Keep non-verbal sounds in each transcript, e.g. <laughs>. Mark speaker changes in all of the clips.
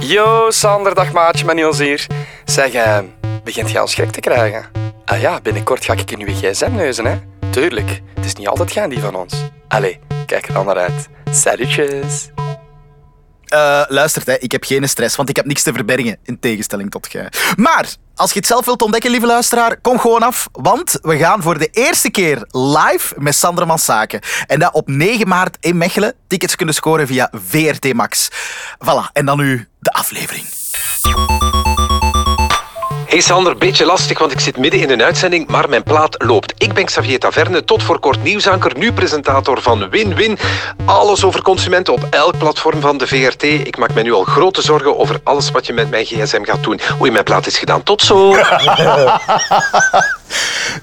Speaker 1: Yo, Sander, dag maatje, Manuels hier. Zeg, eh, begint jij als gek te krijgen? Ah ja, binnenkort ga ik in uw gsm neuzen, hè? Tuurlijk, het is niet altijd gaan die van ons. Allee, kijk er dan naar uit. Salutjes.
Speaker 2: Eh, luistert, hè, ik heb geen stress, want ik heb niks te verbergen, in tegenstelling tot jij. Maar, als je het zelf wilt ontdekken, lieve luisteraar, kom gewoon af, want we gaan voor de eerste keer live met Sander Mansaken. En dat op 9 maart in Mechelen. Tickets kunnen scoren via VRT Max. Voilà, en dan nu de aflevering.
Speaker 3: Hey Sander, beetje lastig, want ik zit midden in een uitzending, maar mijn plaat loopt. Ik ben Xavier Taverne, tot voor kort nieuwsanker, nu presentator van Win-Win. Alles over consumenten op elk platform van de VRT. Ik maak me nu al grote zorgen over alles wat je met mijn gsm gaat doen. Oei, mijn plaat is gedaan. Tot zo.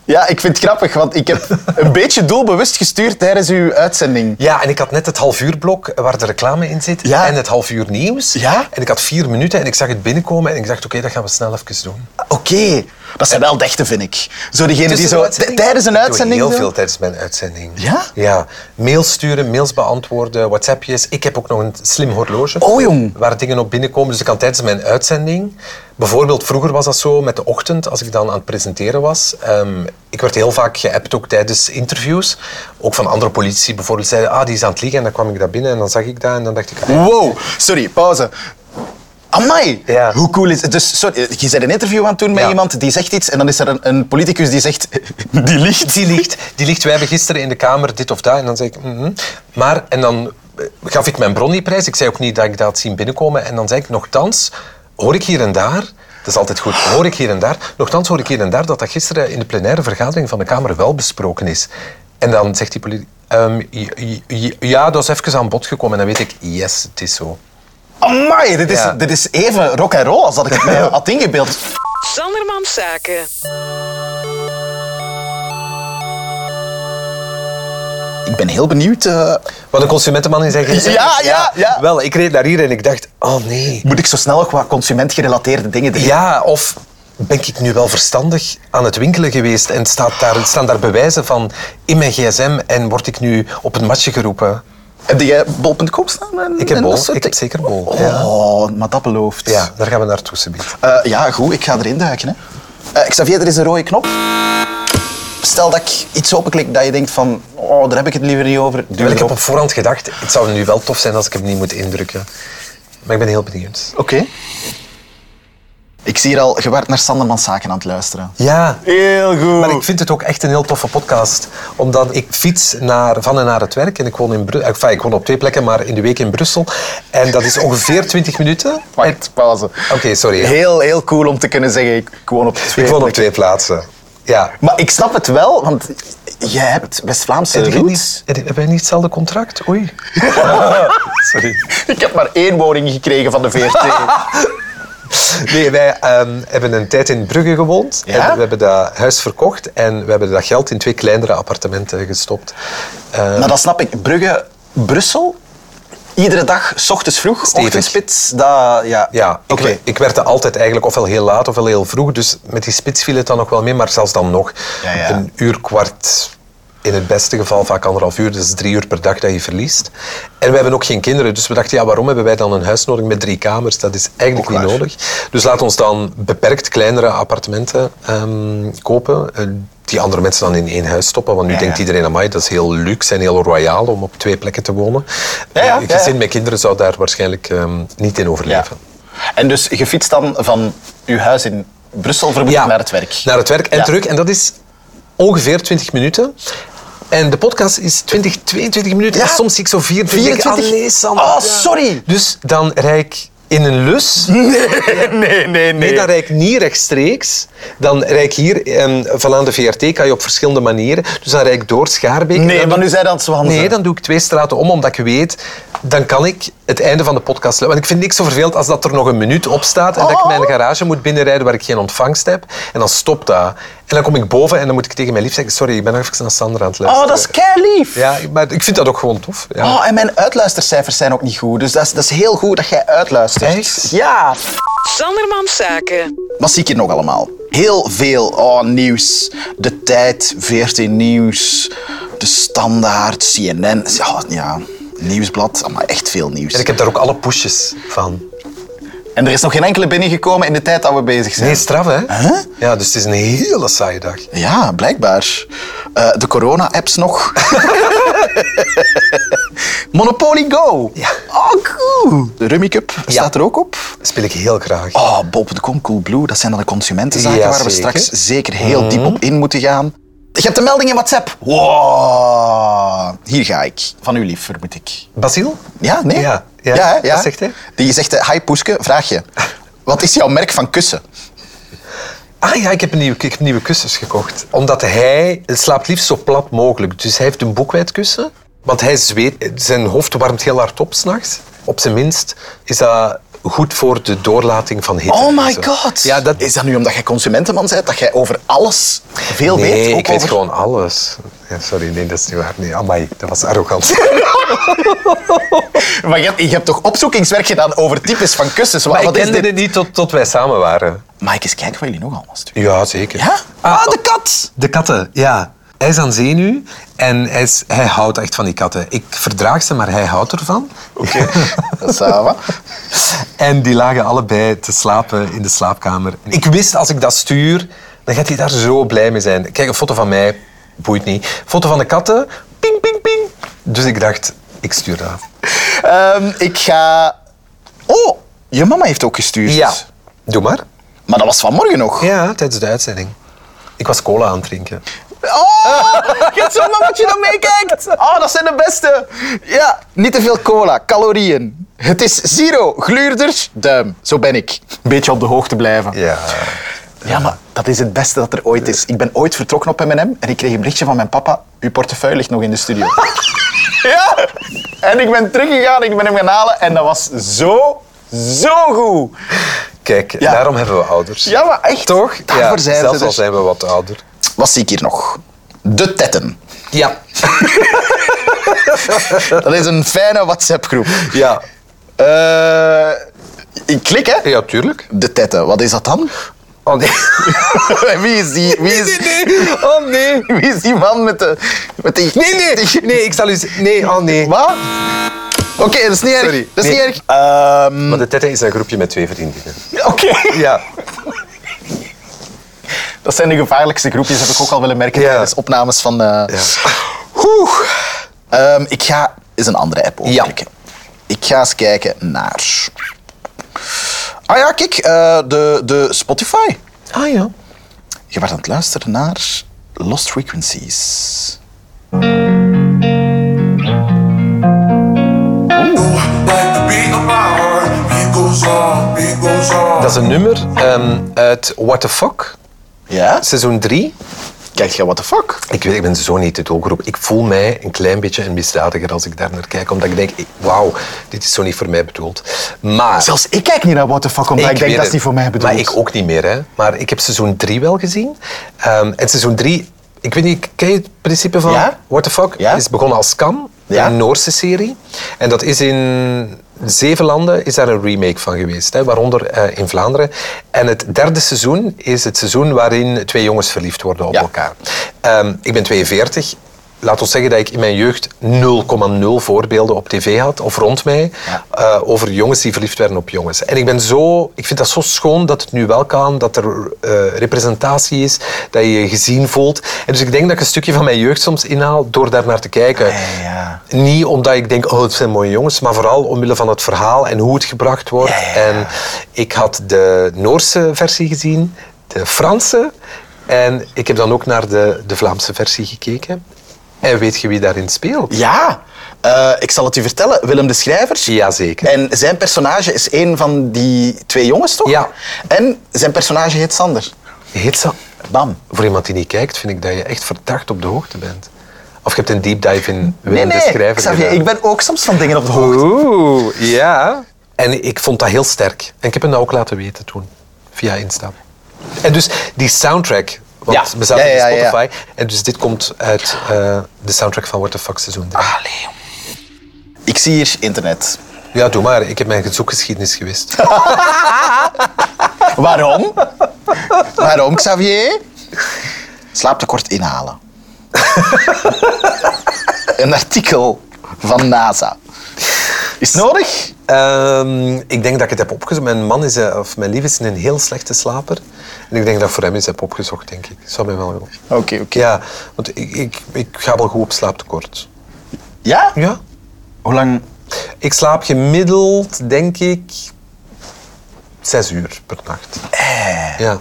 Speaker 4: Ja, ik vind het grappig, want ik heb een beetje doelbewust gestuurd tijdens uw uitzending.
Speaker 5: <laughs> Ja, en ik had net het half uur blok eh, waar de reclame in zit
Speaker 4: Ja.
Speaker 5: en het half uur nieuws.
Speaker 4: Ja.
Speaker 5: En ik had vier minuten en ik zag het binnenkomen en ik dacht, oké, dat gaan we snel even doen.
Speaker 4: Oké, dat zijn wel dichten, vind ik. Zo diegenen die
Speaker 5: Tussen
Speaker 4: zo
Speaker 5: de
Speaker 4: t-
Speaker 5: uitzending?
Speaker 4: tijdens een
Speaker 5: Ik doe
Speaker 4: uitzending...
Speaker 5: heel
Speaker 4: zo-
Speaker 5: veel tijdens mijn uitzending.
Speaker 4: Ja?
Speaker 5: Ja. Mails sturen, mails beantwoorden, WhatsAppjes. Ik heb ook nog een slim horloge.
Speaker 4: Oh, jong.
Speaker 5: Waar dingen op binnenkomen. Dus ik kan tijdens mijn uitzending... Bijvoorbeeld, vroeger was dat zo met de ochtend, als ik dan aan het presenteren was. Ehm, ik werd heel vaak geappt ook tijdens interviews. Ook van andere politici bijvoorbeeld. Zeiden, ah, die is aan het liegen. En dan kwam ik daar binnen en dan zag ik dat. En dan dacht ik, ah,
Speaker 4: Wow, sorry, pauze. Amai,
Speaker 5: Ja.
Speaker 4: hoe cool is het? Dus, sorry, je bent een interview aan het doen met
Speaker 5: Ja.
Speaker 4: iemand die zegt iets en dan is er een, een politicus die zegt... <laughs> Die liegt.
Speaker 5: Die ligt, die ligt. Wij hebben gisteren in de kamer dit of dat. En dan zei ik, mhm. maar... En dan eh, gaf ik mijn Bronnie-prijs. Ik zei ook niet dat ik dat had zien binnenkomen. En dan zei ik, nogthans hoor ik hier en daar... Dat is altijd goed. Hoor ik hier en daar. Nochtans hoor ik hier en daar dat dat gisteren in de plenaire vergadering van de Kamer wel besproken is. En dan zegt die politie... ehm, ja, dat is even aan bod gekomen. En dan weet ik, yes, het is zo.
Speaker 4: Amai, dit is,
Speaker 5: Ja.
Speaker 4: dit is even rock and roll als dat ik het mij had ingebeeld.
Speaker 6: Sanderman Zaken.
Speaker 4: Ik ben heel benieuwd. eh,
Speaker 5: Wat een consumentenman in zijn gezin.
Speaker 4: Ja, ja, ja.
Speaker 5: Wel, ik reed naar hier en ik dacht, oh nee.
Speaker 4: moet ik zo snel ook wat consumentgerelateerde dingen erin?
Speaker 5: Ja, of ben ik nu wel verstandig aan het winkelen geweest en staat daar, staan daar bewijzen van in mijn gsm en word ik nu op een matje geroepen?
Speaker 4: Heb jij bol.com staan? en-
Speaker 5: Ik heb
Speaker 4: en
Speaker 5: bol,
Speaker 4: dat soort
Speaker 5: ik heb
Speaker 4: dingen?
Speaker 5: zeker bol, ja.
Speaker 4: Oh, maar dat belooft.
Speaker 5: Ja, daar gaan we naartoe, Sabine.
Speaker 4: Eh, ja, goed, ik ga erin duiken. Hè. Eh, Xavier, er is een rode knop. Stel dat ik iets openklik dat je denkt van, oh, daar heb ik het liever niet over. Duw
Speaker 5: Wel, ik heb
Speaker 4: erop.
Speaker 5: op voorhand gedacht, het zou nu wel tof zijn als ik hem niet moet indrukken. Maar ik ben heel benieuwd.
Speaker 4: Oké. Ik zie hier al, je werd naar Sandermans Zaken aan het luisteren.
Speaker 5: Ja,
Speaker 4: Heel goed.
Speaker 5: maar ik vind het ook echt een heel toffe podcast. Omdat ik fiets naar, van en naar het werk en ik woon, in Bru- eh, enfin, ik woon op twee plekken, maar in de week in Brussel. En dat is ongeveer 20 minuten.
Speaker 4: Wacht, pauze.
Speaker 5: Oké, sorry.
Speaker 4: Heel, heel cool om te kunnen zeggen, ik, ik woon op twee
Speaker 5: Ik woon op
Speaker 4: plekken.
Speaker 5: twee plaatsen. Ja,
Speaker 4: Maar ik snap het wel, want jij hebt West-Vlaamse
Speaker 5: Heb jij
Speaker 4: roots.
Speaker 5: niet, heb- hebben wij niet hetzelfde contract? Oei. Sorry.
Speaker 4: Ik heb maar één woning gekregen <laughs> van de VRT.
Speaker 5: Nee, wij ehm, hebben een tijd in Brugge gewoond.
Speaker 4: Ja?
Speaker 5: En we hebben dat huis verkocht en we hebben dat geld in twee kleinere appartementen gestopt. Eh,
Speaker 4: Maar dat snap ik. Brugge, Brussel, iedere dag, s ochtends vroeg,
Speaker 5: Stevig.
Speaker 4: ochtendspits. Dat, ja,
Speaker 5: ja, ik,
Speaker 4: oké.
Speaker 5: we- ik werd er altijd eigenlijk ofwel heel laat ofwel heel vroeg. Dus met die spits viel het dan nog wel mee, maar zelfs dan nog.
Speaker 4: Ja, ja.
Speaker 5: Een uur kwart, in het beste geval vaak anderhalf uur. Dus drie uur per dag dat je verliest. En we hebben ook geen kinderen. Dus we dachten, ja, waarom hebben wij dan een huis nodig met drie kamers? Dat is eigenlijk
Speaker 4: Ook
Speaker 5: niet
Speaker 4: waar.
Speaker 5: nodig. Dus laat ons dan beperkt kleinere appartementen ehm, kopen. eh, die andere mensen dan in één huis stoppen. Want nu
Speaker 4: Ja,
Speaker 5: denkt
Speaker 4: ja.
Speaker 5: iedereen, amai, dat is heel luxe en heel royaal om op twee plekken te wonen.
Speaker 4: Ja, ja,
Speaker 5: Een gezin
Speaker 4: ja, ja.
Speaker 5: met kinderen zou daar waarschijnlijk ehm, niet in
Speaker 4: Ja.
Speaker 5: overleven.
Speaker 4: En dus je fietst dan van uw huis in Brussel vermoed ik, naar het werk.
Speaker 5: Naar het werk en
Speaker 4: Ja.
Speaker 5: terug. En dat is ongeveer 20 minuten. En de podcast is 20, 22 minuten.
Speaker 4: Ja.
Speaker 5: En soms zie ik zo 24.
Speaker 4: 24.
Speaker 5: Ah, nee, Sander.
Speaker 4: Oh,
Speaker 5: Ja.
Speaker 4: sorry.
Speaker 5: Dus dan rijd ik in een lus.
Speaker 4: Nee, nee,
Speaker 5: Nee, dan rijd ik niet rechtstreeks. Dan rijd ik hier, ehm, van aan de VRT kan je op verschillende manieren. Dus dan rijd ik door Schaarbeek. En
Speaker 4: Nee,
Speaker 5: dan
Speaker 4: maar
Speaker 5: doe-
Speaker 4: nu zei dat het zo handig.
Speaker 5: Nee, dan doe ik twee straten om, omdat ik weet, dan kan ik het einde van de podcast... lu- Want ik vind niks zo vervelend als dat er nog een minuut op staat en dat
Speaker 4: Oh.
Speaker 5: ik mijn garage moet binnenrijden waar ik geen ontvangst heb. En dan stopt dat. En dan kom ik boven en dan moet ik tegen mijn lief zeggen, sorry, ik ben nog even naar Sandra aan het
Speaker 4: Oh,
Speaker 5: luisteren.
Speaker 4: dat is kei lief.
Speaker 5: Ja, maar ik vind dat ook gewoon tof. Ja.
Speaker 4: Oh, en mijn uitluistercijfers zijn ook niet goed. Dus dat is, dat is heel goed dat jij uitluistert.
Speaker 5: Echt?
Speaker 4: Ja.
Speaker 6: Sanderman Zaken.
Speaker 4: Wat zie ik hier nog allemaal? Heel veel. Oh, nieuws. De Tijd, 14 Nieuws, De Standaard, CNN. Ja, ja. Nieuwsblad, maar echt veel nieuws.
Speaker 5: En ik heb daar ook alle pushjes van.
Speaker 4: En En er is nog geen enkele binnengekomen in de tijd dat we bezig zijn.
Speaker 5: Nee, straf hè?
Speaker 4: Huh?
Speaker 5: Ja, dus het is een hele saaie dag.
Speaker 4: Ja, blijkbaar. Eh, de corona-apps nog. <laughs> Monopoly Go.
Speaker 5: Ja.
Speaker 4: Oh, cool. De Rummy Cup staat er ook op.
Speaker 5: Speel ik heel graag.
Speaker 4: Oh, Bob de Kom, Cool Blue, dat zijn dan de consumentenzaken
Speaker 5: Ja,
Speaker 4: waar we
Speaker 5: zeker. Mhm.
Speaker 4: straks zeker heel diep op in moeten gaan. Je hebt een melding in WhatsApp. Wow. Hier ga ik. Van u lief, vermoed ik.
Speaker 5: Basiel?
Speaker 4: Ja, nee?
Speaker 5: Ja, ja.
Speaker 4: hè,
Speaker 5: Wat zegt hij?
Speaker 4: Die zegt, eh, hi Poeske, vraag je. Wat is jouw merk van kussen?
Speaker 5: Ah ja, ik heb, een nieuwe, ik heb nieuwe kussens gekocht. Omdat hij slaapt liefst zo plat mogelijk. Dus hij heeft een boekwijdkussen. Want hij zweet, zijn hoofd warmt heel hard op s'nachts. Op zijn minst is dat goed voor de doorlating van hitte.
Speaker 4: Oh
Speaker 5: en
Speaker 4: my
Speaker 5: zo.
Speaker 4: god.
Speaker 5: Ja, dat,
Speaker 4: Is dat nu omdat jij consumentenman bent, dat jij over alles veel
Speaker 5: nee,
Speaker 4: weet? Ook
Speaker 5: ik weet
Speaker 4: over-
Speaker 5: gewoon alles. Ja, sorry, nee, dat is niet waar. Nee, amai, dat was
Speaker 4: <laughs>
Speaker 5: arrogant.
Speaker 4: Maar je, je hebt toch opzoekingswerk gedaan over types van kussens? Wat,
Speaker 5: maar ik
Speaker 4: wat is
Speaker 5: kende
Speaker 4: dit?
Speaker 5: het niet tot, tot wij samen waren.
Speaker 4: Mike, eens kijken wat jullie nog allemaal sturen.
Speaker 5: Ja, zeker. oh,
Speaker 4: Ja? Ah, de kat!
Speaker 5: De katten, ja. Hij is aan zenuw en hij, is- hij houdt echt van die katten. Ik verdraag ze, maar hij houdt ervan. Oké.
Speaker 4: Dat is, eh, wat?
Speaker 5: En die lagen allebei te slapen in de slaapkamer. Ik wist als ik dat stuur, dan gaat hij daar zo blij mee zijn. Kijk, een foto van mij, boeit niet. Foto van de katten, ping, ping, ping. Dus ik dacht, ik stuur dat.
Speaker 4: Ehm, ik ga... Oh, je mama heeft ook gestuurd.
Speaker 5: Doe maar.
Speaker 4: Maar dat was vanmorgen nog.
Speaker 5: Ja, tijdens de uitzending. Ik was cola aan het drinken.
Speaker 4: Oh, je hebt zo'n mamatje dat meekijkt. Oh, dat zijn de beste. Ja, niet te veel cola, calorieën. Het is zero, gluurders, duim. Zo ben ik. Een beetje op de hoogte blijven.
Speaker 5: Ja.
Speaker 4: Ja, maar dat is het beste dat er ooit is. Ik ben ooit vertrokken op M&M en ik kreeg een berichtje van mijn papa. Uw portefeuille ligt nog in de studio. <laughs> ja! En ik ben teruggegaan, ik ben hem gaan halen en dat was zo, zo goed.
Speaker 5: Kijk,
Speaker 4: Ja.
Speaker 5: daarom hebben we ouders.
Speaker 4: Ja, maar echt.
Speaker 5: Toch?
Speaker 4: Daarvoor zijn
Speaker 5: Zelfs
Speaker 4: ze
Speaker 5: al
Speaker 4: er.
Speaker 5: zijn we wat ouder.
Speaker 4: Wat zie ik hier nog? De tetten.
Speaker 5: Ja.
Speaker 4: Dat is een fijne WhatsApp-groep.
Speaker 5: Ja. <laughs>
Speaker 4: Eh, ik klik, hè?
Speaker 5: Ja, tuurlijk.
Speaker 4: De tetten, wat is dat dan? <laughs>
Speaker 5: Oh nee.
Speaker 4: Wie is die, wie is,
Speaker 5: <laughs> Oh nee.
Speaker 4: <laughs> wie is die man met de... Met die
Speaker 5: Nee, nee. Nee, ik zal u... z- Nee, oh nee.
Speaker 4: Wat? Oké, dat is niet erg.
Speaker 5: Sorry.
Speaker 4: Dat is
Speaker 5: Nee.
Speaker 4: niet erg. Ehm,
Speaker 5: Maar de tette is een groepje met twee vriendinnen.
Speaker 4: <laughs> Oké.
Speaker 5: Ja.
Speaker 4: Dat zijn de gevaarlijkste groepjes, heb ik ook al willen merken
Speaker 5: Ja.
Speaker 4: tijdens opnames van... eh
Speaker 5: Ja.
Speaker 4: Oeh. Ehm, ik ga eens een andere app openpikken. Ik ga eens kijken naar... Ah ja, kijk, eh, de, de Spotify.
Speaker 5: Ah ja.
Speaker 4: Je werd aan het luisteren naar Lost Frequencies.
Speaker 5: Dat is een nummer ehm, uit What the Fuck,
Speaker 4: Ja?
Speaker 5: seizoen 3.
Speaker 4: Kijk, ja, what the fuck?
Speaker 5: Ik weet, ik ben zo niet de doelgroep. Ik voel mij een klein beetje een misdadiger als ik daar naar kijk, omdat ik denk, ik- wauw, dit is zo niet voor mij bedoeld. Maar...
Speaker 4: Zelfs ik kijk niet naar what the fuck, omdat ik, denk
Speaker 5: weet
Speaker 4: dat is
Speaker 5: het.
Speaker 4: niet voor mij bedoeld.
Speaker 5: Maar ik ook niet meer, hè. Maar ik heb seizoen 3 wel gezien. Ehm, en seizoen 3, ik weet niet, ken je het principe van
Speaker 4: Ja.
Speaker 5: What the Fuck?
Speaker 4: Ja.
Speaker 5: is begonnen als Scam,
Speaker 4: Ja.
Speaker 5: een Noorse serie. En dat is in zeven landen is daar een remake van geweest, hè, waaronder eh, in Vlaanderen. En het derde seizoen is het seizoen waarin twee jongens verliefd worden op
Speaker 4: Ja.
Speaker 5: elkaar. Ehm, ik ben 42. Laat ons zeggen dat ik in mijn jeugd 0,0 voorbeelden op tv had, of rond mij,
Speaker 4: Ja.
Speaker 5: eh, over jongens die verliefd werden op jongens. En ik, ben zo, ik vind dat zo schoon dat het nu wel kan, dat er eh, representatie is, dat je je gezien voelt. En dus ik denk dat ik een stukje van mijn jeugd soms inhaal door daar naar te kijken.
Speaker 4: Ah, ja.
Speaker 5: Niet omdat ik denk, oh, het zijn mooie jongens, maar vooral omwille van het verhaal en hoe het gebracht wordt. En ik had de Noorse versie gezien, de Franse. En ik heb dan ook naar de, de Vlaamse versie gekeken. En weet je wie daarin speelt?
Speaker 4: Ja, eh, ik zal het u vertellen. Willem de Schrijver.
Speaker 5: Jazeker.
Speaker 4: En zijn personage is een van die twee jongens, toch?
Speaker 5: Ja.
Speaker 4: En zijn personage heet Sander.
Speaker 5: Heet ze?
Speaker 4: Bam.
Speaker 5: Voor iemand die niet kijkt, vind ik dat je echt verdacht op de hoogte bent. Of je hebt een deep dive in
Speaker 4: Nee,
Speaker 5: Willem de
Speaker 4: nee,
Speaker 5: Schrijver
Speaker 4: Xavier,
Speaker 5: gedaan.
Speaker 4: ik ben ook soms van dingen op de hoogte.
Speaker 5: Oeh, ja. En ik vond dat heel sterk. En ik heb hem dat ook laten weten toen, via Insta. En dus die soundtrack, want
Speaker 4: Ja.
Speaker 5: we zaten
Speaker 4: Ja, ja,
Speaker 5: in
Speaker 4: ja, ja.
Speaker 5: Spotify. En dus dit komt uit eh, de soundtrack van What the Fuck seizoen drie.
Speaker 4: Allee. Ik zie hier internet.
Speaker 5: Ja, doe maar. Ik heb mijn
Speaker 4: <laughs>
Speaker 5: zoekgeschiedenis gewist. <laughs>
Speaker 4: Waarom? Waarom, Xavier? Slaaptekort inhalen.
Speaker 5: <laughs>
Speaker 4: Een artikel van NASA. Is het nodig?
Speaker 5: Ehm, ik denk dat ik het heb opgezocht. Mijn man is, eh, of mijn lief is een heel slechte slaper. En ik denk dat ik voor hem eens heb opgezocht, denk ik. Zou mij wel goed.
Speaker 4: Oké, oké.
Speaker 5: Ja, want ik, ik, ik ga wel goed op slaaptekort.
Speaker 4: Ja?
Speaker 5: Ja?
Speaker 4: Hoe lang?
Speaker 5: Ik slaap gemiddeld, denk ik, zes uur per nacht.
Speaker 4: Eh.
Speaker 5: Ja.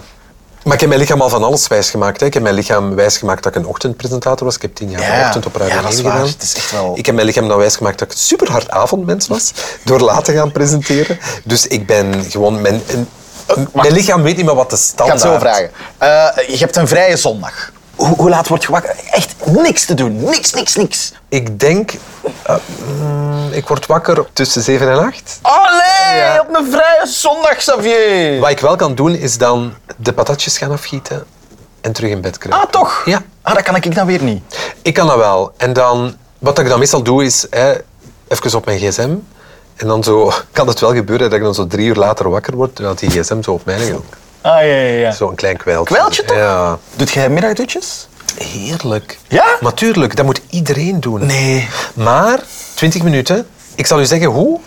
Speaker 5: Maar ik heb mijn lichaam al van alles wijsgemaakt. Hè. Ik heb mijn lichaam wijsgemaakt dat ik een ochtendpresentator was. Ik heb tien jaar
Speaker 4: Ja.
Speaker 5: ochtend op Radio
Speaker 4: Ja, dat is
Speaker 5: 1
Speaker 4: waar.
Speaker 5: gedaan.
Speaker 4: Het is echt wel-
Speaker 5: Ik heb mijn lichaam dan wijsgemaakt dat ik een superhard avondmens was. door laat te gaan presenteren. Dus ik ben gewoon... Mijn, een- mijn lichaam weet niet meer wat de
Speaker 4: Ik ga
Speaker 5: standaard...
Speaker 4: het zo vragen. Eh, je hebt een vrije zondag. Hoe, hoe laat word je wakker? Echt niks te doen. Niks, niks, niks.
Speaker 5: Ik denk... eh, mm, ik word wakker tussen zeven en acht.
Speaker 4: Allee, op een vrije zondag, Xavier.
Speaker 5: Wat ik wel kan doen, is dan de patatjes gaan afgieten en terug in bed kruipen.
Speaker 4: Ah, toch?
Speaker 5: Ja,
Speaker 4: Ah, dat kan ik dan weer niet.
Speaker 5: ik kan dat wel. En dan, wat ik dan meestal doe, is hè, even op mijn gsm. En dan zo, <laughs> kan het wel gebeuren dat ik dan zo drie uur later wakker word, terwijl die gsm zo op mij ligt.
Speaker 4: Ah, ja, ja, ja.
Speaker 5: Zo'n klein kwijltje.
Speaker 4: Kwijltje toch?
Speaker 5: Ja.
Speaker 4: Doet jij middagdutjes?
Speaker 5: Heerlijk.
Speaker 4: Ja?
Speaker 5: Maar tuurlijk, dat moet iedereen doen.
Speaker 4: Nee.
Speaker 5: Maar, 20 minuten. Ik zal u zeggen hoe.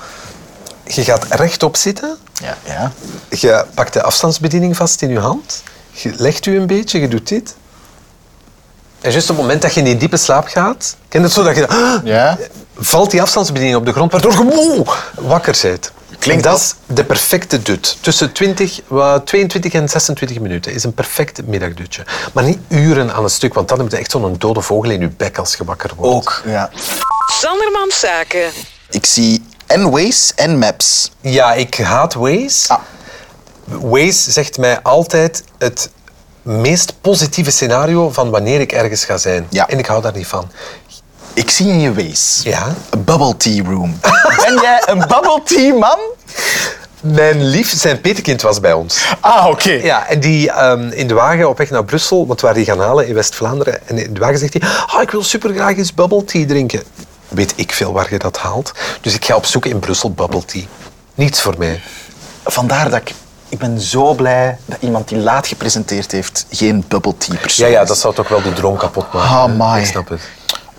Speaker 5: Je gaat rechtop zitten.
Speaker 4: Ja. ja.
Speaker 5: Je pakt de afstandsbediening vast in je hand. Je legt u een beetje, je doet dit. En juist op het moment dat je in die diepe slaap gaat, ken je het zo dat je... "Ah!"
Speaker 4: Ja.
Speaker 5: Valt die afstandsbediening op de grond, waardoor je moe wakker bent.
Speaker 4: Klinkt
Speaker 5: En dat is de perfecte dut. Tussen 20, wa- 22 en 26 minuten is een perfect middagdutje. Maar niet uren aan een stuk, want dan heb je echt zo'n dode vogel in je bek als je wakker wordt.
Speaker 4: Ook. Ja.
Speaker 6: Sanderman Zaken.
Speaker 2: Ik zie en Waze en Maps.
Speaker 5: Ja, ik haat Waze.
Speaker 4: Ah.
Speaker 5: Waze zegt mij altijd het meest positieve scenario van wanneer ik ergens ga zijn.
Speaker 2: Ja.
Speaker 5: En ik hou daar niet van.
Speaker 2: Ik zie in je Waze.
Speaker 5: Ja.
Speaker 2: Een bubble tea room.
Speaker 4: <laughs> Ben jij een bubble tea man?
Speaker 5: Mijn lief, zijn petekind was bij ons.
Speaker 4: Ah, oké.
Speaker 5: Ja, en die ehm, in de wagen op weg naar Brussel, want waar die gaan halen in West-Vlaanderen. En in de wagen zegt hij, ah, ik wil supergraag eens bubble tea drinken. Weet ik veel waar je dat haalt. Dus ik ga op zoek in Brussel bubble tea. Niets voor mij.
Speaker 2: Vandaar dat ik... Ik ben zo blij dat iemand die laat gepresenteerd heeft geen bubble tea persoon
Speaker 5: Ja, ja,
Speaker 2: is.
Speaker 5: dat zou toch wel de droom kapot maken.
Speaker 2: Ah,
Speaker 5: hè?
Speaker 2: my.
Speaker 5: Ik snap het.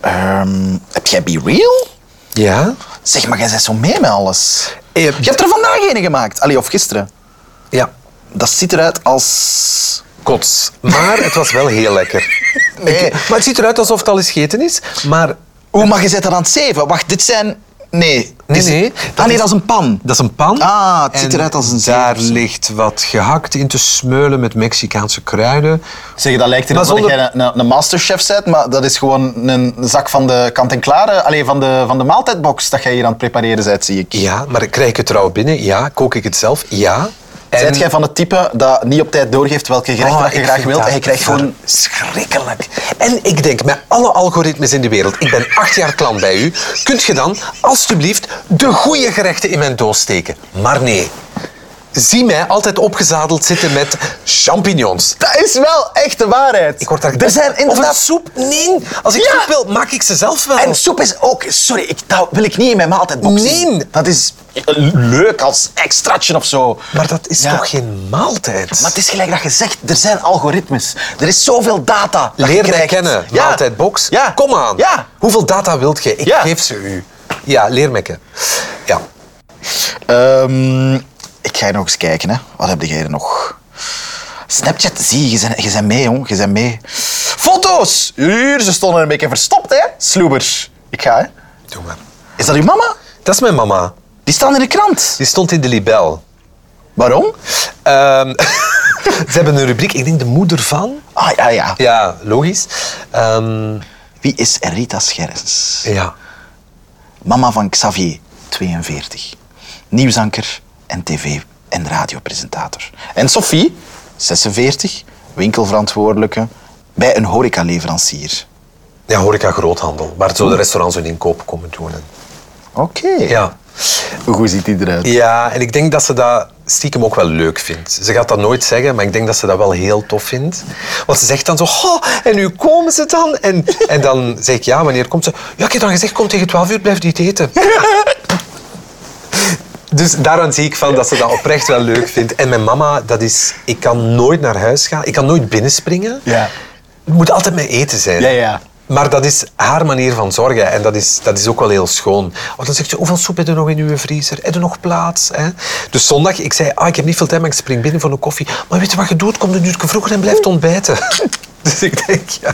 Speaker 2: Ehm, heb jij Be Real?
Speaker 5: Ja?
Speaker 2: Zeg, maar jij bent zo mee met alles.
Speaker 5: Eh,
Speaker 2: Je hebt er vandaag een gemaakt. Allee, of gisteren.
Speaker 5: Ja.
Speaker 2: Dat ziet eruit als...
Speaker 5: kots. Maar het was wel heel <laughs> lekker.
Speaker 2: Nee.
Speaker 5: Ik- maar het ziet eruit alsof het al eens gegeten is. Maar
Speaker 2: Oeh, maar je zet dat aan het zeven. Wacht, dit zijn... Nee.
Speaker 5: Nee,
Speaker 2: dit is-
Speaker 5: nee,
Speaker 2: Ah
Speaker 5: dat
Speaker 2: nee,
Speaker 5: is-
Speaker 2: dat is een pan.
Speaker 5: dat is een pan.
Speaker 2: Ah, het ziet
Speaker 5: En
Speaker 2: eruit als een
Speaker 5: Daar
Speaker 2: zeef of zo.
Speaker 5: ligt wat gehakt in te smeulen met Mexicaanse kruiden.
Speaker 4: Zeg, dat lijkt
Speaker 5: Maar
Speaker 4: erop
Speaker 5: zonder-
Speaker 4: dat jij een, een, een masterchef bent, maar dat is gewoon een zak van de kant-en-klare, alleen van de, van de maaltijdbox dat jij hier aan het prepareren bent, zie ik.
Speaker 5: Ja, maar krijg ik het trouw binnen? Ja. Kook ik het zelf? Ja. En
Speaker 4: Zijt jij van het type dat niet op tijd doorgeeft welke gerechten
Speaker 5: Oh,
Speaker 4: dat je
Speaker 5: ik
Speaker 4: graag
Speaker 5: vind
Speaker 4: wilt
Speaker 5: dat
Speaker 4: en je krijgt gewoon...
Speaker 5: verschrikkelijk. En ik denk, met alle algoritmes in de wereld, ik ben acht jaar klant bij u, kunt je dan alstublieft de goede gerechten in mijn doos steken? Maar nee. Zie mij altijd opgezadeld zitten met champignons.
Speaker 4: Dat is wel echt de waarheid.
Speaker 5: Ik word daar...
Speaker 2: Er zijn
Speaker 5: Of een
Speaker 2: inderdaad-
Speaker 5: soep? Nee. Als ik
Speaker 2: Ja.
Speaker 5: soep wil, maak ik ze zelf wel.
Speaker 2: En soep is ook... Sorry, ik, dat wil ik niet in mijn maaltijdbox zien.
Speaker 5: Nee.
Speaker 2: Dat is...
Speaker 4: Leuk als extraatje of zo.
Speaker 5: Maar dat is
Speaker 2: Ja.
Speaker 5: toch geen maaltijd?
Speaker 2: Maar het is gelijk dat je zegt, er zijn algoritmes. Er is zoveel data dat je
Speaker 5: Leer mij
Speaker 2: krijgt.
Speaker 5: kennen,
Speaker 2: Ja.
Speaker 5: maaltijdbox.
Speaker 2: Ja.
Speaker 5: Kom aan.
Speaker 2: Ja.
Speaker 5: Hoeveel data wilt je? Ik
Speaker 2: Ja.
Speaker 5: geef ze u. Ja, leer mij kennen. Ja.
Speaker 2: Ehm, ik ga nog eens kijken, hè. Wat heb jij er nog? Snapchat, zie je, je, bent- je bent mee, jong. Je bent mee.
Speaker 4: Foto's! Hier, ze stonden een beetje verstopt, hè? Sloebers. Ik ga, hè.
Speaker 5: Doe maar.
Speaker 2: Is dat uw mama?
Speaker 5: Dat is mijn mama.
Speaker 2: Die staan in de krant.
Speaker 5: Die stond in de libel.
Speaker 2: Waarom?
Speaker 5: Ehm, <laughs> ze hebben een rubriek, ik denk de moeder van.
Speaker 2: Ah, ja, ja.
Speaker 5: Ja, logisch. Ehm,
Speaker 2: Wie is Rita Scherrens?
Speaker 5: ja.
Speaker 2: Mama van Xavier, 42. Nieuwsanker en tv- en radiopresentator. En Sophie, 46, winkelverantwoordelijke bij een horecaleverancier.
Speaker 5: Ja, horeca groothandel. Waar zo de restaurants hun inkoop komen doen. en-
Speaker 2: Oké.
Speaker 5: Ja.
Speaker 2: Hoe ziet die eruit?
Speaker 5: Ja, en ik denk dat ze dat stiekem ook wel leuk vindt. Ze gaat dat nooit zeggen, maar ik denk dat ze dat wel heel tof vindt. Want ze zegt dan zo, oh, en nu komen ze dan? En, en dan zeg ik, ja, wanneer komt ze? Ja, ik heb dan gezegd, kom tegen 12 uur, blijf niet eten. <laughs> Dus daaraan zie ik van dat ze dat oprecht wel leuk vindt. En mijn mama, dat is... Ik kan nooit naar huis gaan. Ik kan nooit binnenspringen.
Speaker 4: Ja.
Speaker 5: Het moet altijd met eten zijn.
Speaker 4: Ja, ja.
Speaker 5: Maar dat is haar manier van zorgen en dat is, dat is ook wel heel schoon. Want dan zegt ze, hoeveel soep heb je nog in uw vriezer? Heb je nog plaats? Hè? Dus zondag, ik zei, ah, ik heb niet veel tijd, maar ik spring binnen voor een koffie. Maar weet je wat je doet? Kom een uur vroeger en blijft ontbijten. <laughs> dus ik denk, ja...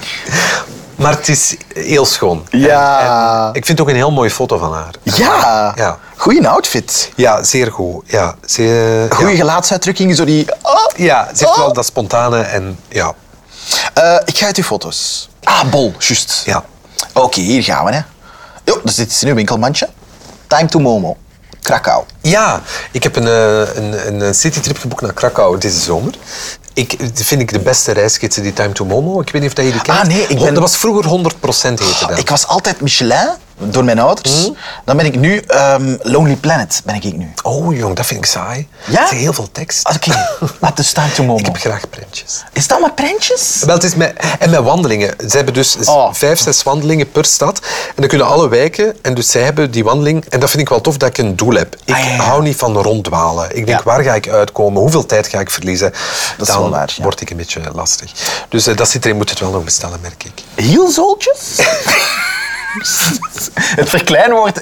Speaker 5: Maar het is heel schoon. En-
Speaker 4: Ja.
Speaker 5: en ik vind ook een heel mooie foto van haar.
Speaker 4: Ja.
Speaker 5: Ja.
Speaker 4: Goeie outfit.
Speaker 5: Ja, zeer goed. Ja, ze,
Speaker 4: Goeie
Speaker 5: ja.
Speaker 4: gelaatsuitdrukking, zo die... Oh.
Speaker 5: ja, ze heeft
Speaker 4: Oh.
Speaker 5: wel dat spontane en ja.
Speaker 4: Eh, ik ga uit uw foto's. Ah, bol, juist.
Speaker 5: Ja.
Speaker 4: Oké, hier gaan we. Hè. Jo, dus dit is in uw winkelmandje. Time to Momo. Krakau.
Speaker 5: Ja, ik heb een, eh, een, een, een citytrip geboekt naar Krakau deze zomer. Ik dit vind ik de beste reisgidsen, die Time to Momo. Ik weet niet of dat je die kent.
Speaker 4: Ah, nee, ik
Speaker 5: Hond-
Speaker 4: ben-
Speaker 5: Dat was vroeger 100% heette dat.
Speaker 4: Ik was altijd Michelin, door mijn ouders.
Speaker 5: Mhm.
Speaker 4: Dan ben ik nu ehm, Lonely Planet, ben ik nu.
Speaker 5: Oh jong, dat vind ik saai.
Speaker 4: Ja?
Speaker 5: Het is heel veel tekst.
Speaker 4: Oké, <laughs> maar dus Time to Momo.
Speaker 5: Ah, Ik heb graag printjes.
Speaker 4: Is dat maar prentjes?
Speaker 5: Wel, het is met, en met wandelingen. Ze hebben dus z-
Speaker 4: Oh.
Speaker 5: vijf, zes wandelingen per stad. En dan kunnen alle wijken. En dus zij hebben die wandeling. En dat vind ik wel tof dat ik een doel heb. Ik
Speaker 4: Ah, ja, ja.
Speaker 5: hou niet van ronddwalen. Ik denk,
Speaker 4: Ja.
Speaker 5: waar ga ik uitkomen? Hoeveel tijd ga ik verliezen?
Speaker 4: Dat is
Speaker 5: dan
Speaker 4: wel waar, ja.
Speaker 5: word ik een beetje lastig. Dus eh, dat zit erin. Moet het wel nog bestellen, merk ik.
Speaker 4: Hielzooltjes? <laughs> het verkleinwoord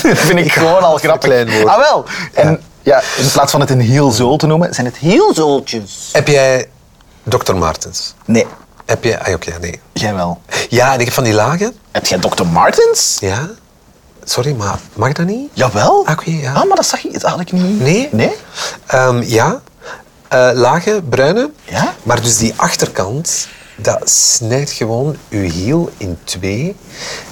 Speaker 4: vind ik gewoon al grappig.
Speaker 5: verkleinwoord.
Speaker 4: Ah wel. En ja. in plaats van het een hielzool te noemen, zijn het hielzooltjes.
Speaker 5: Heb jij Dr. Martens?
Speaker 4: Nee,
Speaker 5: Heb jij... Ah, oké, nee.
Speaker 4: jij wel.
Speaker 5: Ja, en ik heb van die lagen.
Speaker 4: Heb jij Dr. Martens?
Speaker 5: Ja. Sorry, maar mag dat niet?
Speaker 4: Jawel.
Speaker 5: Ah, oké, ja.
Speaker 4: Ah, maar dat zag ik, dat had ik niet.
Speaker 5: Nee?
Speaker 4: Nee?
Speaker 5: Ehm, ja. Eh, lage, bruine.
Speaker 4: Ja?
Speaker 5: Maar dus die achterkant, dat snijdt gewoon uw hiel in twee.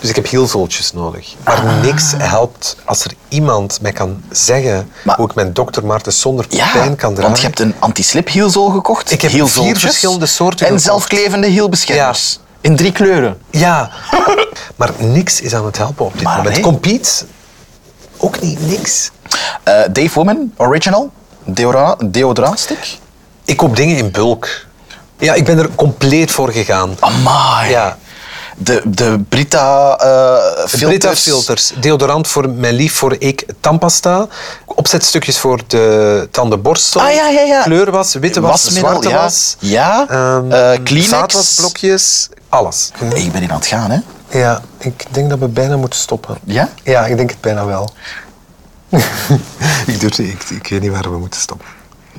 Speaker 5: Dus ik heb hielzooltjes nodig. Maar
Speaker 4: Ah.
Speaker 5: niks helpt als er iemand mij kan zeggen
Speaker 4: Maar-
Speaker 5: hoe ik mijn dokter Maarten zonder
Speaker 4: Ja,
Speaker 5: pijn kan dragen.
Speaker 4: want je hebt een anti-slip hielzool gekocht.
Speaker 5: Ik heb vier
Speaker 4: hielzooltjes
Speaker 5: verschillende soorten
Speaker 4: En
Speaker 5: gekocht.
Speaker 4: zelfklevende hielbeschermers. In drie kleuren.
Speaker 5: Ja, maar niks is aan het helpen op dit
Speaker 4: Maar
Speaker 5: moment.
Speaker 4: nee.
Speaker 5: Compete, ook niet, niks.
Speaker 4: Eh, Dave Woman, original. Deodora deodorantstick.
Speaker 5: Ik koop dingen in bulk. Ja, ik ben er compleet voor gegaan.
Speaker 4: Oh, Amai.
Speaker 5: Ja.
Speaker 4: De, de Brita eh filters.
Speaker 5: Brita filters, deodorant voor mijn lief, voor ik tandpasta, opzetstukjes voor de tandenborstel,
Speaker 4: Ah, ja, ja, ja.
Speaker 5: kleurwas, witte was,
Speaker 4: Wasmiddel,
Speaker 5: zwarte
Speaker 4: ja.
Speaker 5: was,
Speaker 4: Ja.
Speaker 5: ehm,
Speaker 4: Eh, Kleenex.
Speaker 5: zaadwasblokjes, alles.
Speaker 4: Hey, ik ben hier aan het gaan, hè.
Speaker 5: Ja, ik denk dat we bijna moeten stoppen.
Speaker 4: Ja?
Speaker 5: Ja, ik denk het bijna wel. <laughs> ik, durf, niet, ik, ik weet niet waar we moeten stoppen.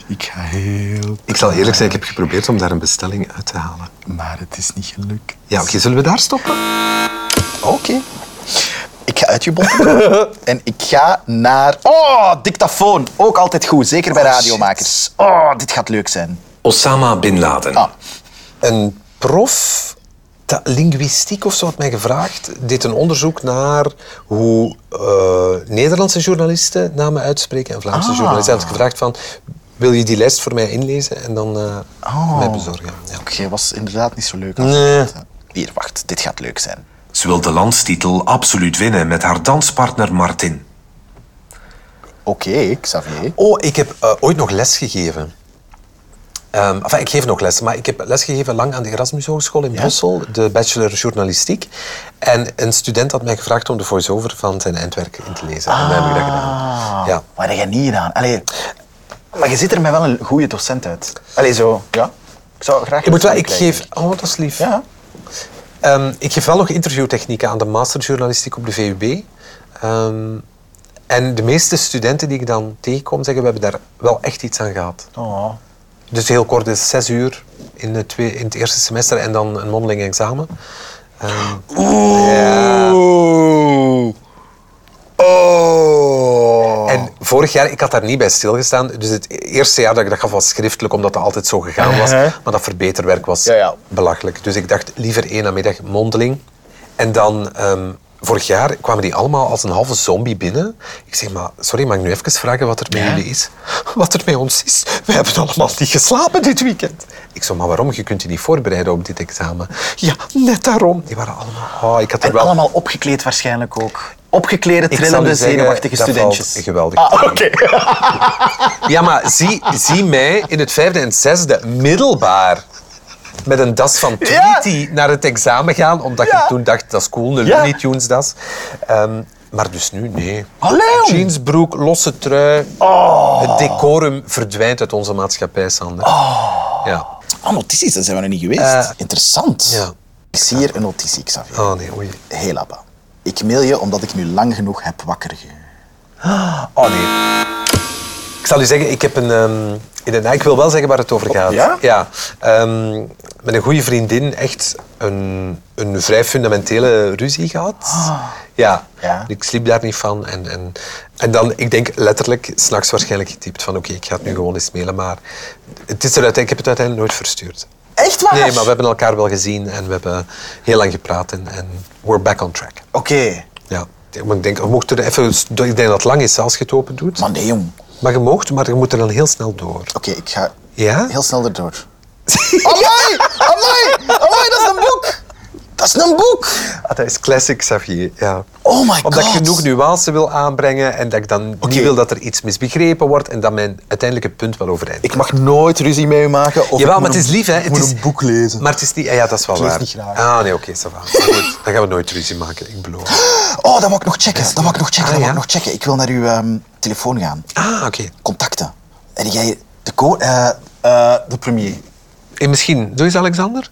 Speaker 4: Ik ga heel...
Speaker 5: Ik zal eerlijk zijn, ik heb geprobeerd om daar een bestelling uit te halen.
Speaker 4: Maar het is niet gelukt.
Speaker 5: Ja, oké, zullen we daar stoppen?
Speaker 4: Oké. Ik ga uit je <laughs> botten en ik ga naar... Oh, dictafoon. Ook altijd goed, zeker bij radiomakers. Oh, dit gaat leuk zijn.
Speaker 5: Osama Bin Laden.
Speaker 4: Ah.
Speaker 5: Een prof, ta- linguïstiek of zo, had mij gevraagd, deed een onderzoek naar hoe eh, Nederlandse journalisten namen uitspreken en Vlaamse
Speaker 4: Ah.
Speaker 5: journalisten. Hij had gevraagd van, wil je die lijst voor mij inlezen en dan eh,
Speaker 4: Oh.
Speaker 5: mij bezorgen? Ja.
Speaker 4: Oké, was inderdaad niet zo leuk. als-
Speaker 5: Nee.
Speaker 4: Hier, wacht. Dit gaat leuk zijn.
Speaker 7: Ze wil de landstitel absoluut winnen met haar danspartner Martin.
Speaker 4: Oké, Xavier.
Speaker 5: Oh, ik heb eh, ooit nog les gegeven. Ehm, enfin, ik geef nog les, maar ik heb lesgegeven lang aan de Erasmus Hogeschool in Brussel, de bachelor journalistiek. En een student had mij gevraagd om de voice-over van zijn eindwerk in te lezen. En dat heb ik dat gedaan. Ja.
Speaker 4: Maar dat heb je niet gedaan. Allee. Maar je ziet er mij wel een goede docent uit. Allee, zo. Ja. Ik zou graag...
Speaker 5: Ik, moet wel, ik
Speaker 4: krijgen.
Speaker 5: geef... Oh, dat is lief.
Speaker 4: Ja.
Speaker 5: Ehm, ik geef wel nog interviewtechnieken aan de masterjournalistiek op de VUB. Ehm, en de meeste studenten die ik dan tegenkom zeggen, we hebben daar wel echt iets aan gehad.
Speaker 4: Oh.
Speaker 5: Dus heel kort, dus zes uur in, de twee, in het eerste semester en dan een mondeling examen. Ehm,
Speaker 4: Oeh. Oh.
Speaker 5: En vorig jaar, ik had daar niet bij stilgestaan. Dus het eerste jaar dat ik dat gaf was schriftelijk, omdat dat altijd zo gegaan was. Maar dat verbeterwerk was
Speaker 4: Ja, ja.
Speaker 5: belachelijk. Dus ik dacht, liever één namiddag mondeling. En dan, ehm, vorig jaar kwamen die allemaal als een halve zombie binnen. Ik zeg, maar sorry, mag ik nu even vragen wat er met jullie is? Wat er met ons is? We hebben allemaal niet geslapen dit weekend. Ik zeg, maar waarom? Je kunt je niet voorbereiden op dit examen. Ja, net daarom. Die waren allemaal... Oh, ik had er
Speaker 4: En
Speaker 5: wel...
Speaker 4: allemaal opgekleed waarschijnlijk ook. Opgeklede,
Speaker 5: zal u
Speaker 4: trillende,
Speaker 5: zeggen,
Speaker 4: zenuwachtige
Speaker 5: dat
Speaker 4: studentjes.
Speaker 5: valt geweldig
Speaker 4: Ah, oké. <laughs>
Speaker 5: Ja, maar zie, zie mij in het vijfde en zesde middelbaar met een das van 20
Speaker 4: Ja.
Speaker 5: naar het examen gaan, omdat
Speaker 4: Ja.
Speaker 5: je toen dacht, dat is cool, een
Speaker 4: Ja.
Speaker 5: Looney Tunes das. Ehm, maar dus nu, nee.
Speaker 4: Allee, jong. Oh.
Speaker 5: Jeansbroek, losse trui. Het decorum verdwijnt uit onze maatschappij, Sander. Ja.
Speaker 4: Oh. Ah, notities, daar zijn we nog niet geweest.
Speaker 5: Eh,
Speaker 4: Interessant.
Speaker 5: ja.
Speaker 4: Sier een notitie, Xavier.
Speaker 5: Oh nee, oei.
Speaker 4: Hey Labba, ik mail je omdat ik nu lang genoeg heb wakker ge...
Speaker 5: Oh nee. Ik zal u zeggen, ik heb een. ehm, in een, ik wil wel zeggen waar het over gaat.
Speaker 4: Oh, ja?
Speaker 5: Ehm, met een goede vriendin echt een, een vrij fundamentele ruzie gehad. Ja.
Speaker 4: Ah. Ja.
Speaker 5: Ik sliep daar niet van. En, en, en dan, ik denk letterlijk, s'nachts waarschijnlijk getypt van oké, ik ga het nu gewoon eens mailen. Maar het is er uiteindelijk, ik heb het uiteindelijk nooit verstuurd.
Speaker 4: Echt waar?
Speaker 5: Nee, maar we hebben elkaar wel gezien en we hebben heel lang gepraat. En, en we're back on track.
Speaker 4: Oké.
Speaker 5: Ja. Maar ik denk, we mochten er even, ik denk dat het lang is als je het open doet.
Speaker 4: Maar nee, jong. Oké,
Speaker 5: Maar je mocht, maar je moet er dan heel snel door.
Speaker 4: ik ga
Speaker 5: Ja?
Speaker 4: heel snel <laughs> erdoor. Amai! Amai! Amai, dat is een boek! Dat is een boek!
Speaker 5: Ah, dat is classic Xavier, ja.
Speaker 4: Oh my
Speaker 5: Omdat ik
Speaker 4: God.
Speaker 5: genoeg nuance wil aanbrengen en dat ik dan
Speaker 4: Oké.
Speaker 5: niet wil dat er iets misbegrepen wordt en dat mijn uiteindelijke punt wel overeind
Speaker 4: Ik mag nooit ruzie mee maken. Of ik
Speaker 5: Jawel,
Speaker 4: moet
Speaker 5: maar het is
Speaker 4: een-
Speaker 5: lief, hè.
Speaker 4: Ik
Speaker 5: Het
Speaker 4: moet
Speaker 5: is,
Speaker 4: een boek lezen.
Speaker 5: Maar het is niet... ah Ja, dat is wel
Speaker 4: Ik lees
Speaker 5: waar.
Speaker 4: niet graag.
Speaker 5: Ah, nee, oké, ça va. Maar Goed, dan gaan we nooit ruzie maken, ik beloof.
Speaker 4: Oh, dat mag ik nog checken. Dat mag ik nog checken. dat
Speaker 5: Ah,
Speaker 4: mag
Speaker 5: ja?
Speaker 4: ik nog checken. Ik wil naar uw ehm, telefoon gaan.
Speaker 5: Ah, oké.
Speaker 4: Contacten. En jij de, co- eh, eh, de premier.
Speaker 5: En misschien... Doe eens Alexander?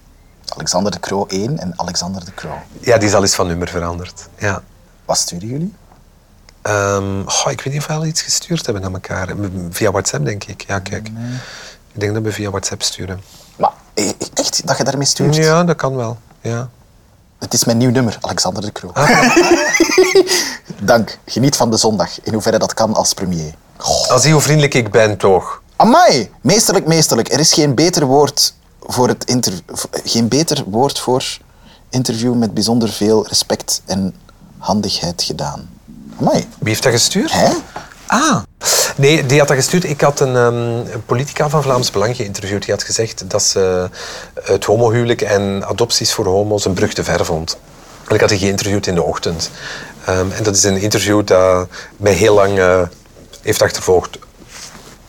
Speaker 4: Alexander de Croo 1 en Alexander de Croo.
Speaker 5: Ja, die is al eens van nummer veranderd. Ja.
Speaker 4: Wat sturen jullie?
Speaker 5: Ehm, goh, ik weet niet of we al iets gestuurd hebben aan elkaar. Via WhatsApp, denk ik. Ja, kijk. Ik denk dat we via WhatsApp sturen.
Speaker 4: Maar eh, eh, echt, dat je daarmee stuurt?
Speaker 5: Ja, dat kan wel. Ja.
Speaker 4: Het is mijn nieuw nummer, Alexander de Croo.
Speaker 2: Ah.
Speaker 4: <laughs> Dank. Geniet van de zondag, in hoeverre dat kan als premier.
Speaker 5: Als je hoe vriendelijk ik ben, toch?
Speaker 4: Amai! Meesterlijk, meesterlijk. Er is geen beter woord voor het inter... v- Geen beter woord voor interview met bijzonder veel respect en handigheid gedaan. Amai.
Speaker 5: Wie heeft dat gestuurd?
Speaker 4: Hè?
Speaker 5: Ah. Nee, die had dat gestuurd. Ik had een, ehm, een politica van Vlaams Belang geïnterviewd. Die had gezegd dat ze het homohuwelijk en adopties voor homo's een brug te ver vond. En ik had die geïnterviewd in de ochtend. Ehm, en dat is een interview dat mij heel lang eh, heeft achtervolgd.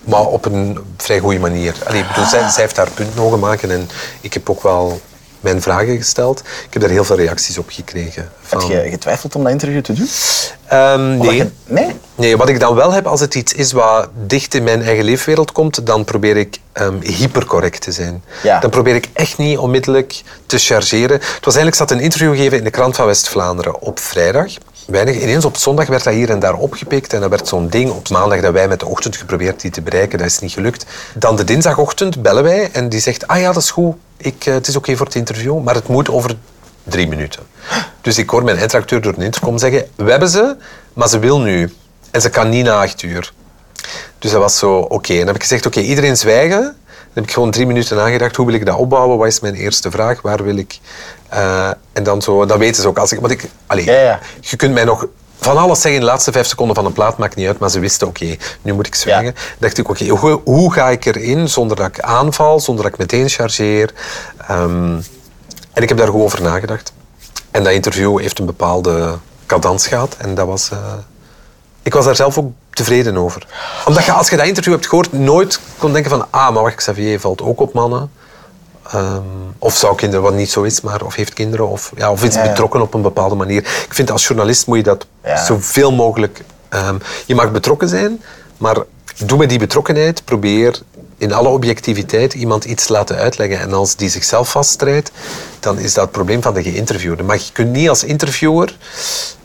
Speaker 5: Maar op een vrij goede manier. Allee, ik bedoel, zij, zij heeft haar punt nog gemaakt en ik heb ook wel mijn vragen gesteld. Ik heb daar heel veel reacties op gekregen. Van,
Speaker 4: Heb je getwijfeld om dat interview te doen?
Speaker 5: Ehm,
Speaker 4: Omdat
Speaker 5: Oh. nee.
Speaker 4: je- nee?
Speaker 5: Nee, wat ik dan wel heb, als het iets is wat dicht in mijn eigen leefwereld komt, dan probeer ik ehm, hypercorrect te zijn.
Speaker 4: Ja.
Speaker 5: Dan probeer ik echt niet onmiddellijk te chargeren. Het was eigenlijk, ik zat een interview gegeven in de krant van West-Vlaanderen op vrijdag. Weinig. Ineens op zondag werd dat hier en daar opgepikt en dat werd zo'n ding op maandag dat wij met de ochtend geprobeerd die te bereiken. Dat is niet gelukt. Dan de dinsdagochtend bellen wij en die zegt, ah ja, dat is goed. Ik, eh, het is oké voor het interview, maar het moet over Drie minuten. Dus ik hoor mijn eindredacteur door de intercom zeggen: We hebben ze, maar ze wil nu. En ze kan niet na acht uur. Dus dat was zo, oké. En dan heb ik gezegd: Oké, iedereen zwijgen. Dan heb ik gewoon drie minuten nagedacht: hoe wil ik dat opbouwen? Wat is mijn eerste vraag? Waar wil ik. eh, en dan zo, dan weten ze ook. Als ik, want ik, allee,
Speaker 4: Ja, ja.
Speaker 5: Je kunt mij nog van alles zeggen in de laatste vijf seconden van een plaat, maakt niet uit. Maar ze wisten: Oké, nu moet ik zwijgen.
Speaker 4: Ja.
Speaker 5: dacht ik: Oké, hoe, hoe ga ik erin zonder dat ik aanval, zonder dat ik meteen chargeer? Ehm, en ik heb daar goed over nagedacht. En dat interview heeft een bepaalde cadans gehad. En dat was... eh, ik was daar zelf ook tevreden over. Omdat je, als je dat interview hebt gehoord, nooit kon denken van... Ah, maar wacht, Xavier valt ook op mannen. Ehm, of zou kinderen, wat niet zo is, maar... Of heeft kinderen, of, ja, of is
Speaker 4: Ja, ja.
Speaker 5: betrokken op een bepaalde manier. Ik vind, als journalist moet je dat
Speaker 4: Ja.
Speaker 5: zoveel mogelijk... ehm, je mag betrokken zijn, maar doe met die betrokkenheid. Probeer in alle objectiviteit iemand iets te laten uitleggen. En als die zichzelf vaststrijdt, dan is dat het probleem van de geïnterviewde. Maar je kunt niet als interviewer...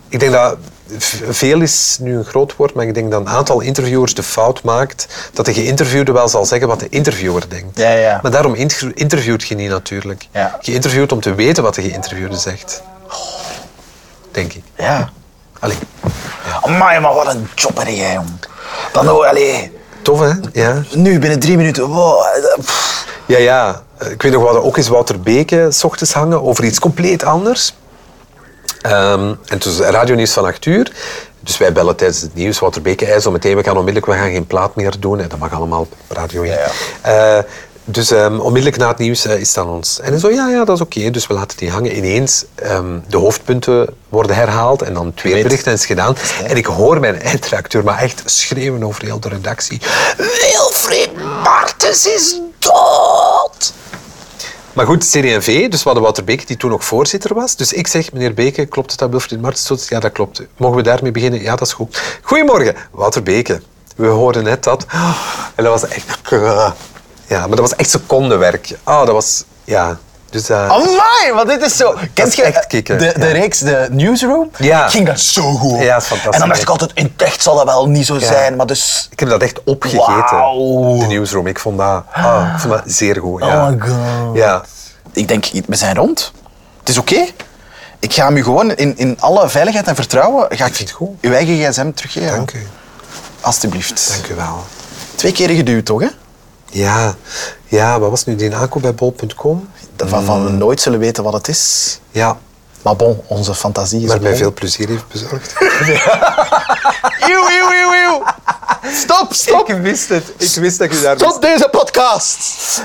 Speaker 5: Ik denk dat... v- Veel is nu een groot woord, maar ik denk dat een aantal interviewers de fout maakt dat de geïnterviewde wel zal zeggen wat de interviewer denkt.
Speaker 4: Ja, ja.
Speaker 5: Maar daarom inter- interviewt je niet natuurlijk.
Speaker 4: Ja.
Speaker 5: Je interviewt om te weten wat de geïnterviewde zegt. Denk ik.
Speaker 4: Ja.
Speaker 5: Allee,
Speaker 4: Amai, maar wat een job ben jij, jong. Dan, oh, allee.
Speaker 5: tof hè? Ja.
Speaker 4: Nu, binnen drie minuten. Wow, eh, pff.
Speaker 5: Ja, ja. Ik weet nog wel dat ook eens Wouter Beke s ochtends hangen over iets compleet anders. Ehm, en het was radionieuws van 8 uur. Dus wij bellen tijdens het nieuws. Wouter Beke, hij zo meteen, we gaan onmiddellijk, we gaan geen plaat meer doen. En dat mag allemaal op radio. Ja. Eh, dus ehm, onmiddellijk na het nieuws eh, is het aan ons. En hij zo, ja, ja, dat is oké. Dus we laten die hangen. Ineens, ehm, de hoofdpunten worden herhaald. En dan het weerbericht en het is gedaan. En ik hoor mijn eindredacteur maar echt schreeuwen over heel de redactie. Wilfried Martens is dood! Maar goed, CD&V, dus we hadden Wouter Beke, die toen nog voorzitter was. Dus ik zeg, meneer Beke, klopt het dat Wilfried Martens dood is? Ja, dat klopt. Mogen we daarmee beginnen? Ja, dat is goed. Goedemorgen, Wouter Beke. We hoorden net dat. <gasps> En dat was echt... Ja, maar dat was echt secondenwerk. Ah, dat was... Ja, Dus dat...
Speaker 2: Amai, want dit is zo... Kent
Speaker 5: is echt
Speaker 2: je de,
Speaker 5: kicken,
Speaker 2: de
Speaker 5: ja.
Speaker 2: reeks, de Newsroom?
Speaker 5: Ja.
Speaker 2: Ik ging daar zo goed op.
Speaker 5: Ja, dat is fantastisch,
Speaker 2: En dan dacht
Speaker 5: hè.
Speaker 2: ik altijd, in het echt zal dat wel niet zo zijn, maar dus...
Speaker 5: Ik heb dat echt opgegeten.
Speaker 2: Wauw.
Speaker 5: De newsroom. Ik vond dat, ah, ik vond dat zeer goed. Ja.
Speaker 2: Oh my god.
Speaker 5: Ja.
Speaker 2: Ik denk, we zijn rond.
Speaker 4: Het is oké.
Speaker 2: Ik ga hem u gewoon in, in alle veiligheid en vertrouwen... Ga ik
Speaker 5: vind het goed.
Speaker 2: uw eigen gsm teruggeven.
Speaker 5: Dank u.
Speaker 2: Alsjeblieft.
Speaker 5: Dank u wel.
Speaker 2: Twee keren geduwd, toch? Hè?
Speaker 5: Ja. ja, wat was nu die aankoop bij bol.com?
Speaker 2: Waarvan we nooit zullen weten wat het is.
Speaker 5: Ja,
Speaker 2: Maar bon, onze fantasie is
Speaker 5: maar mij
Speaker 2: bon.
Speaker 5: veel plezier heeft <laughs> bezorgd.
Speaker 2: Eeuw, eeuw, eeuw, eeuw. Stop, stop.
Speaker 5: wist het. Ik wist dat je daar
Speaker 2: Tot deze podcast.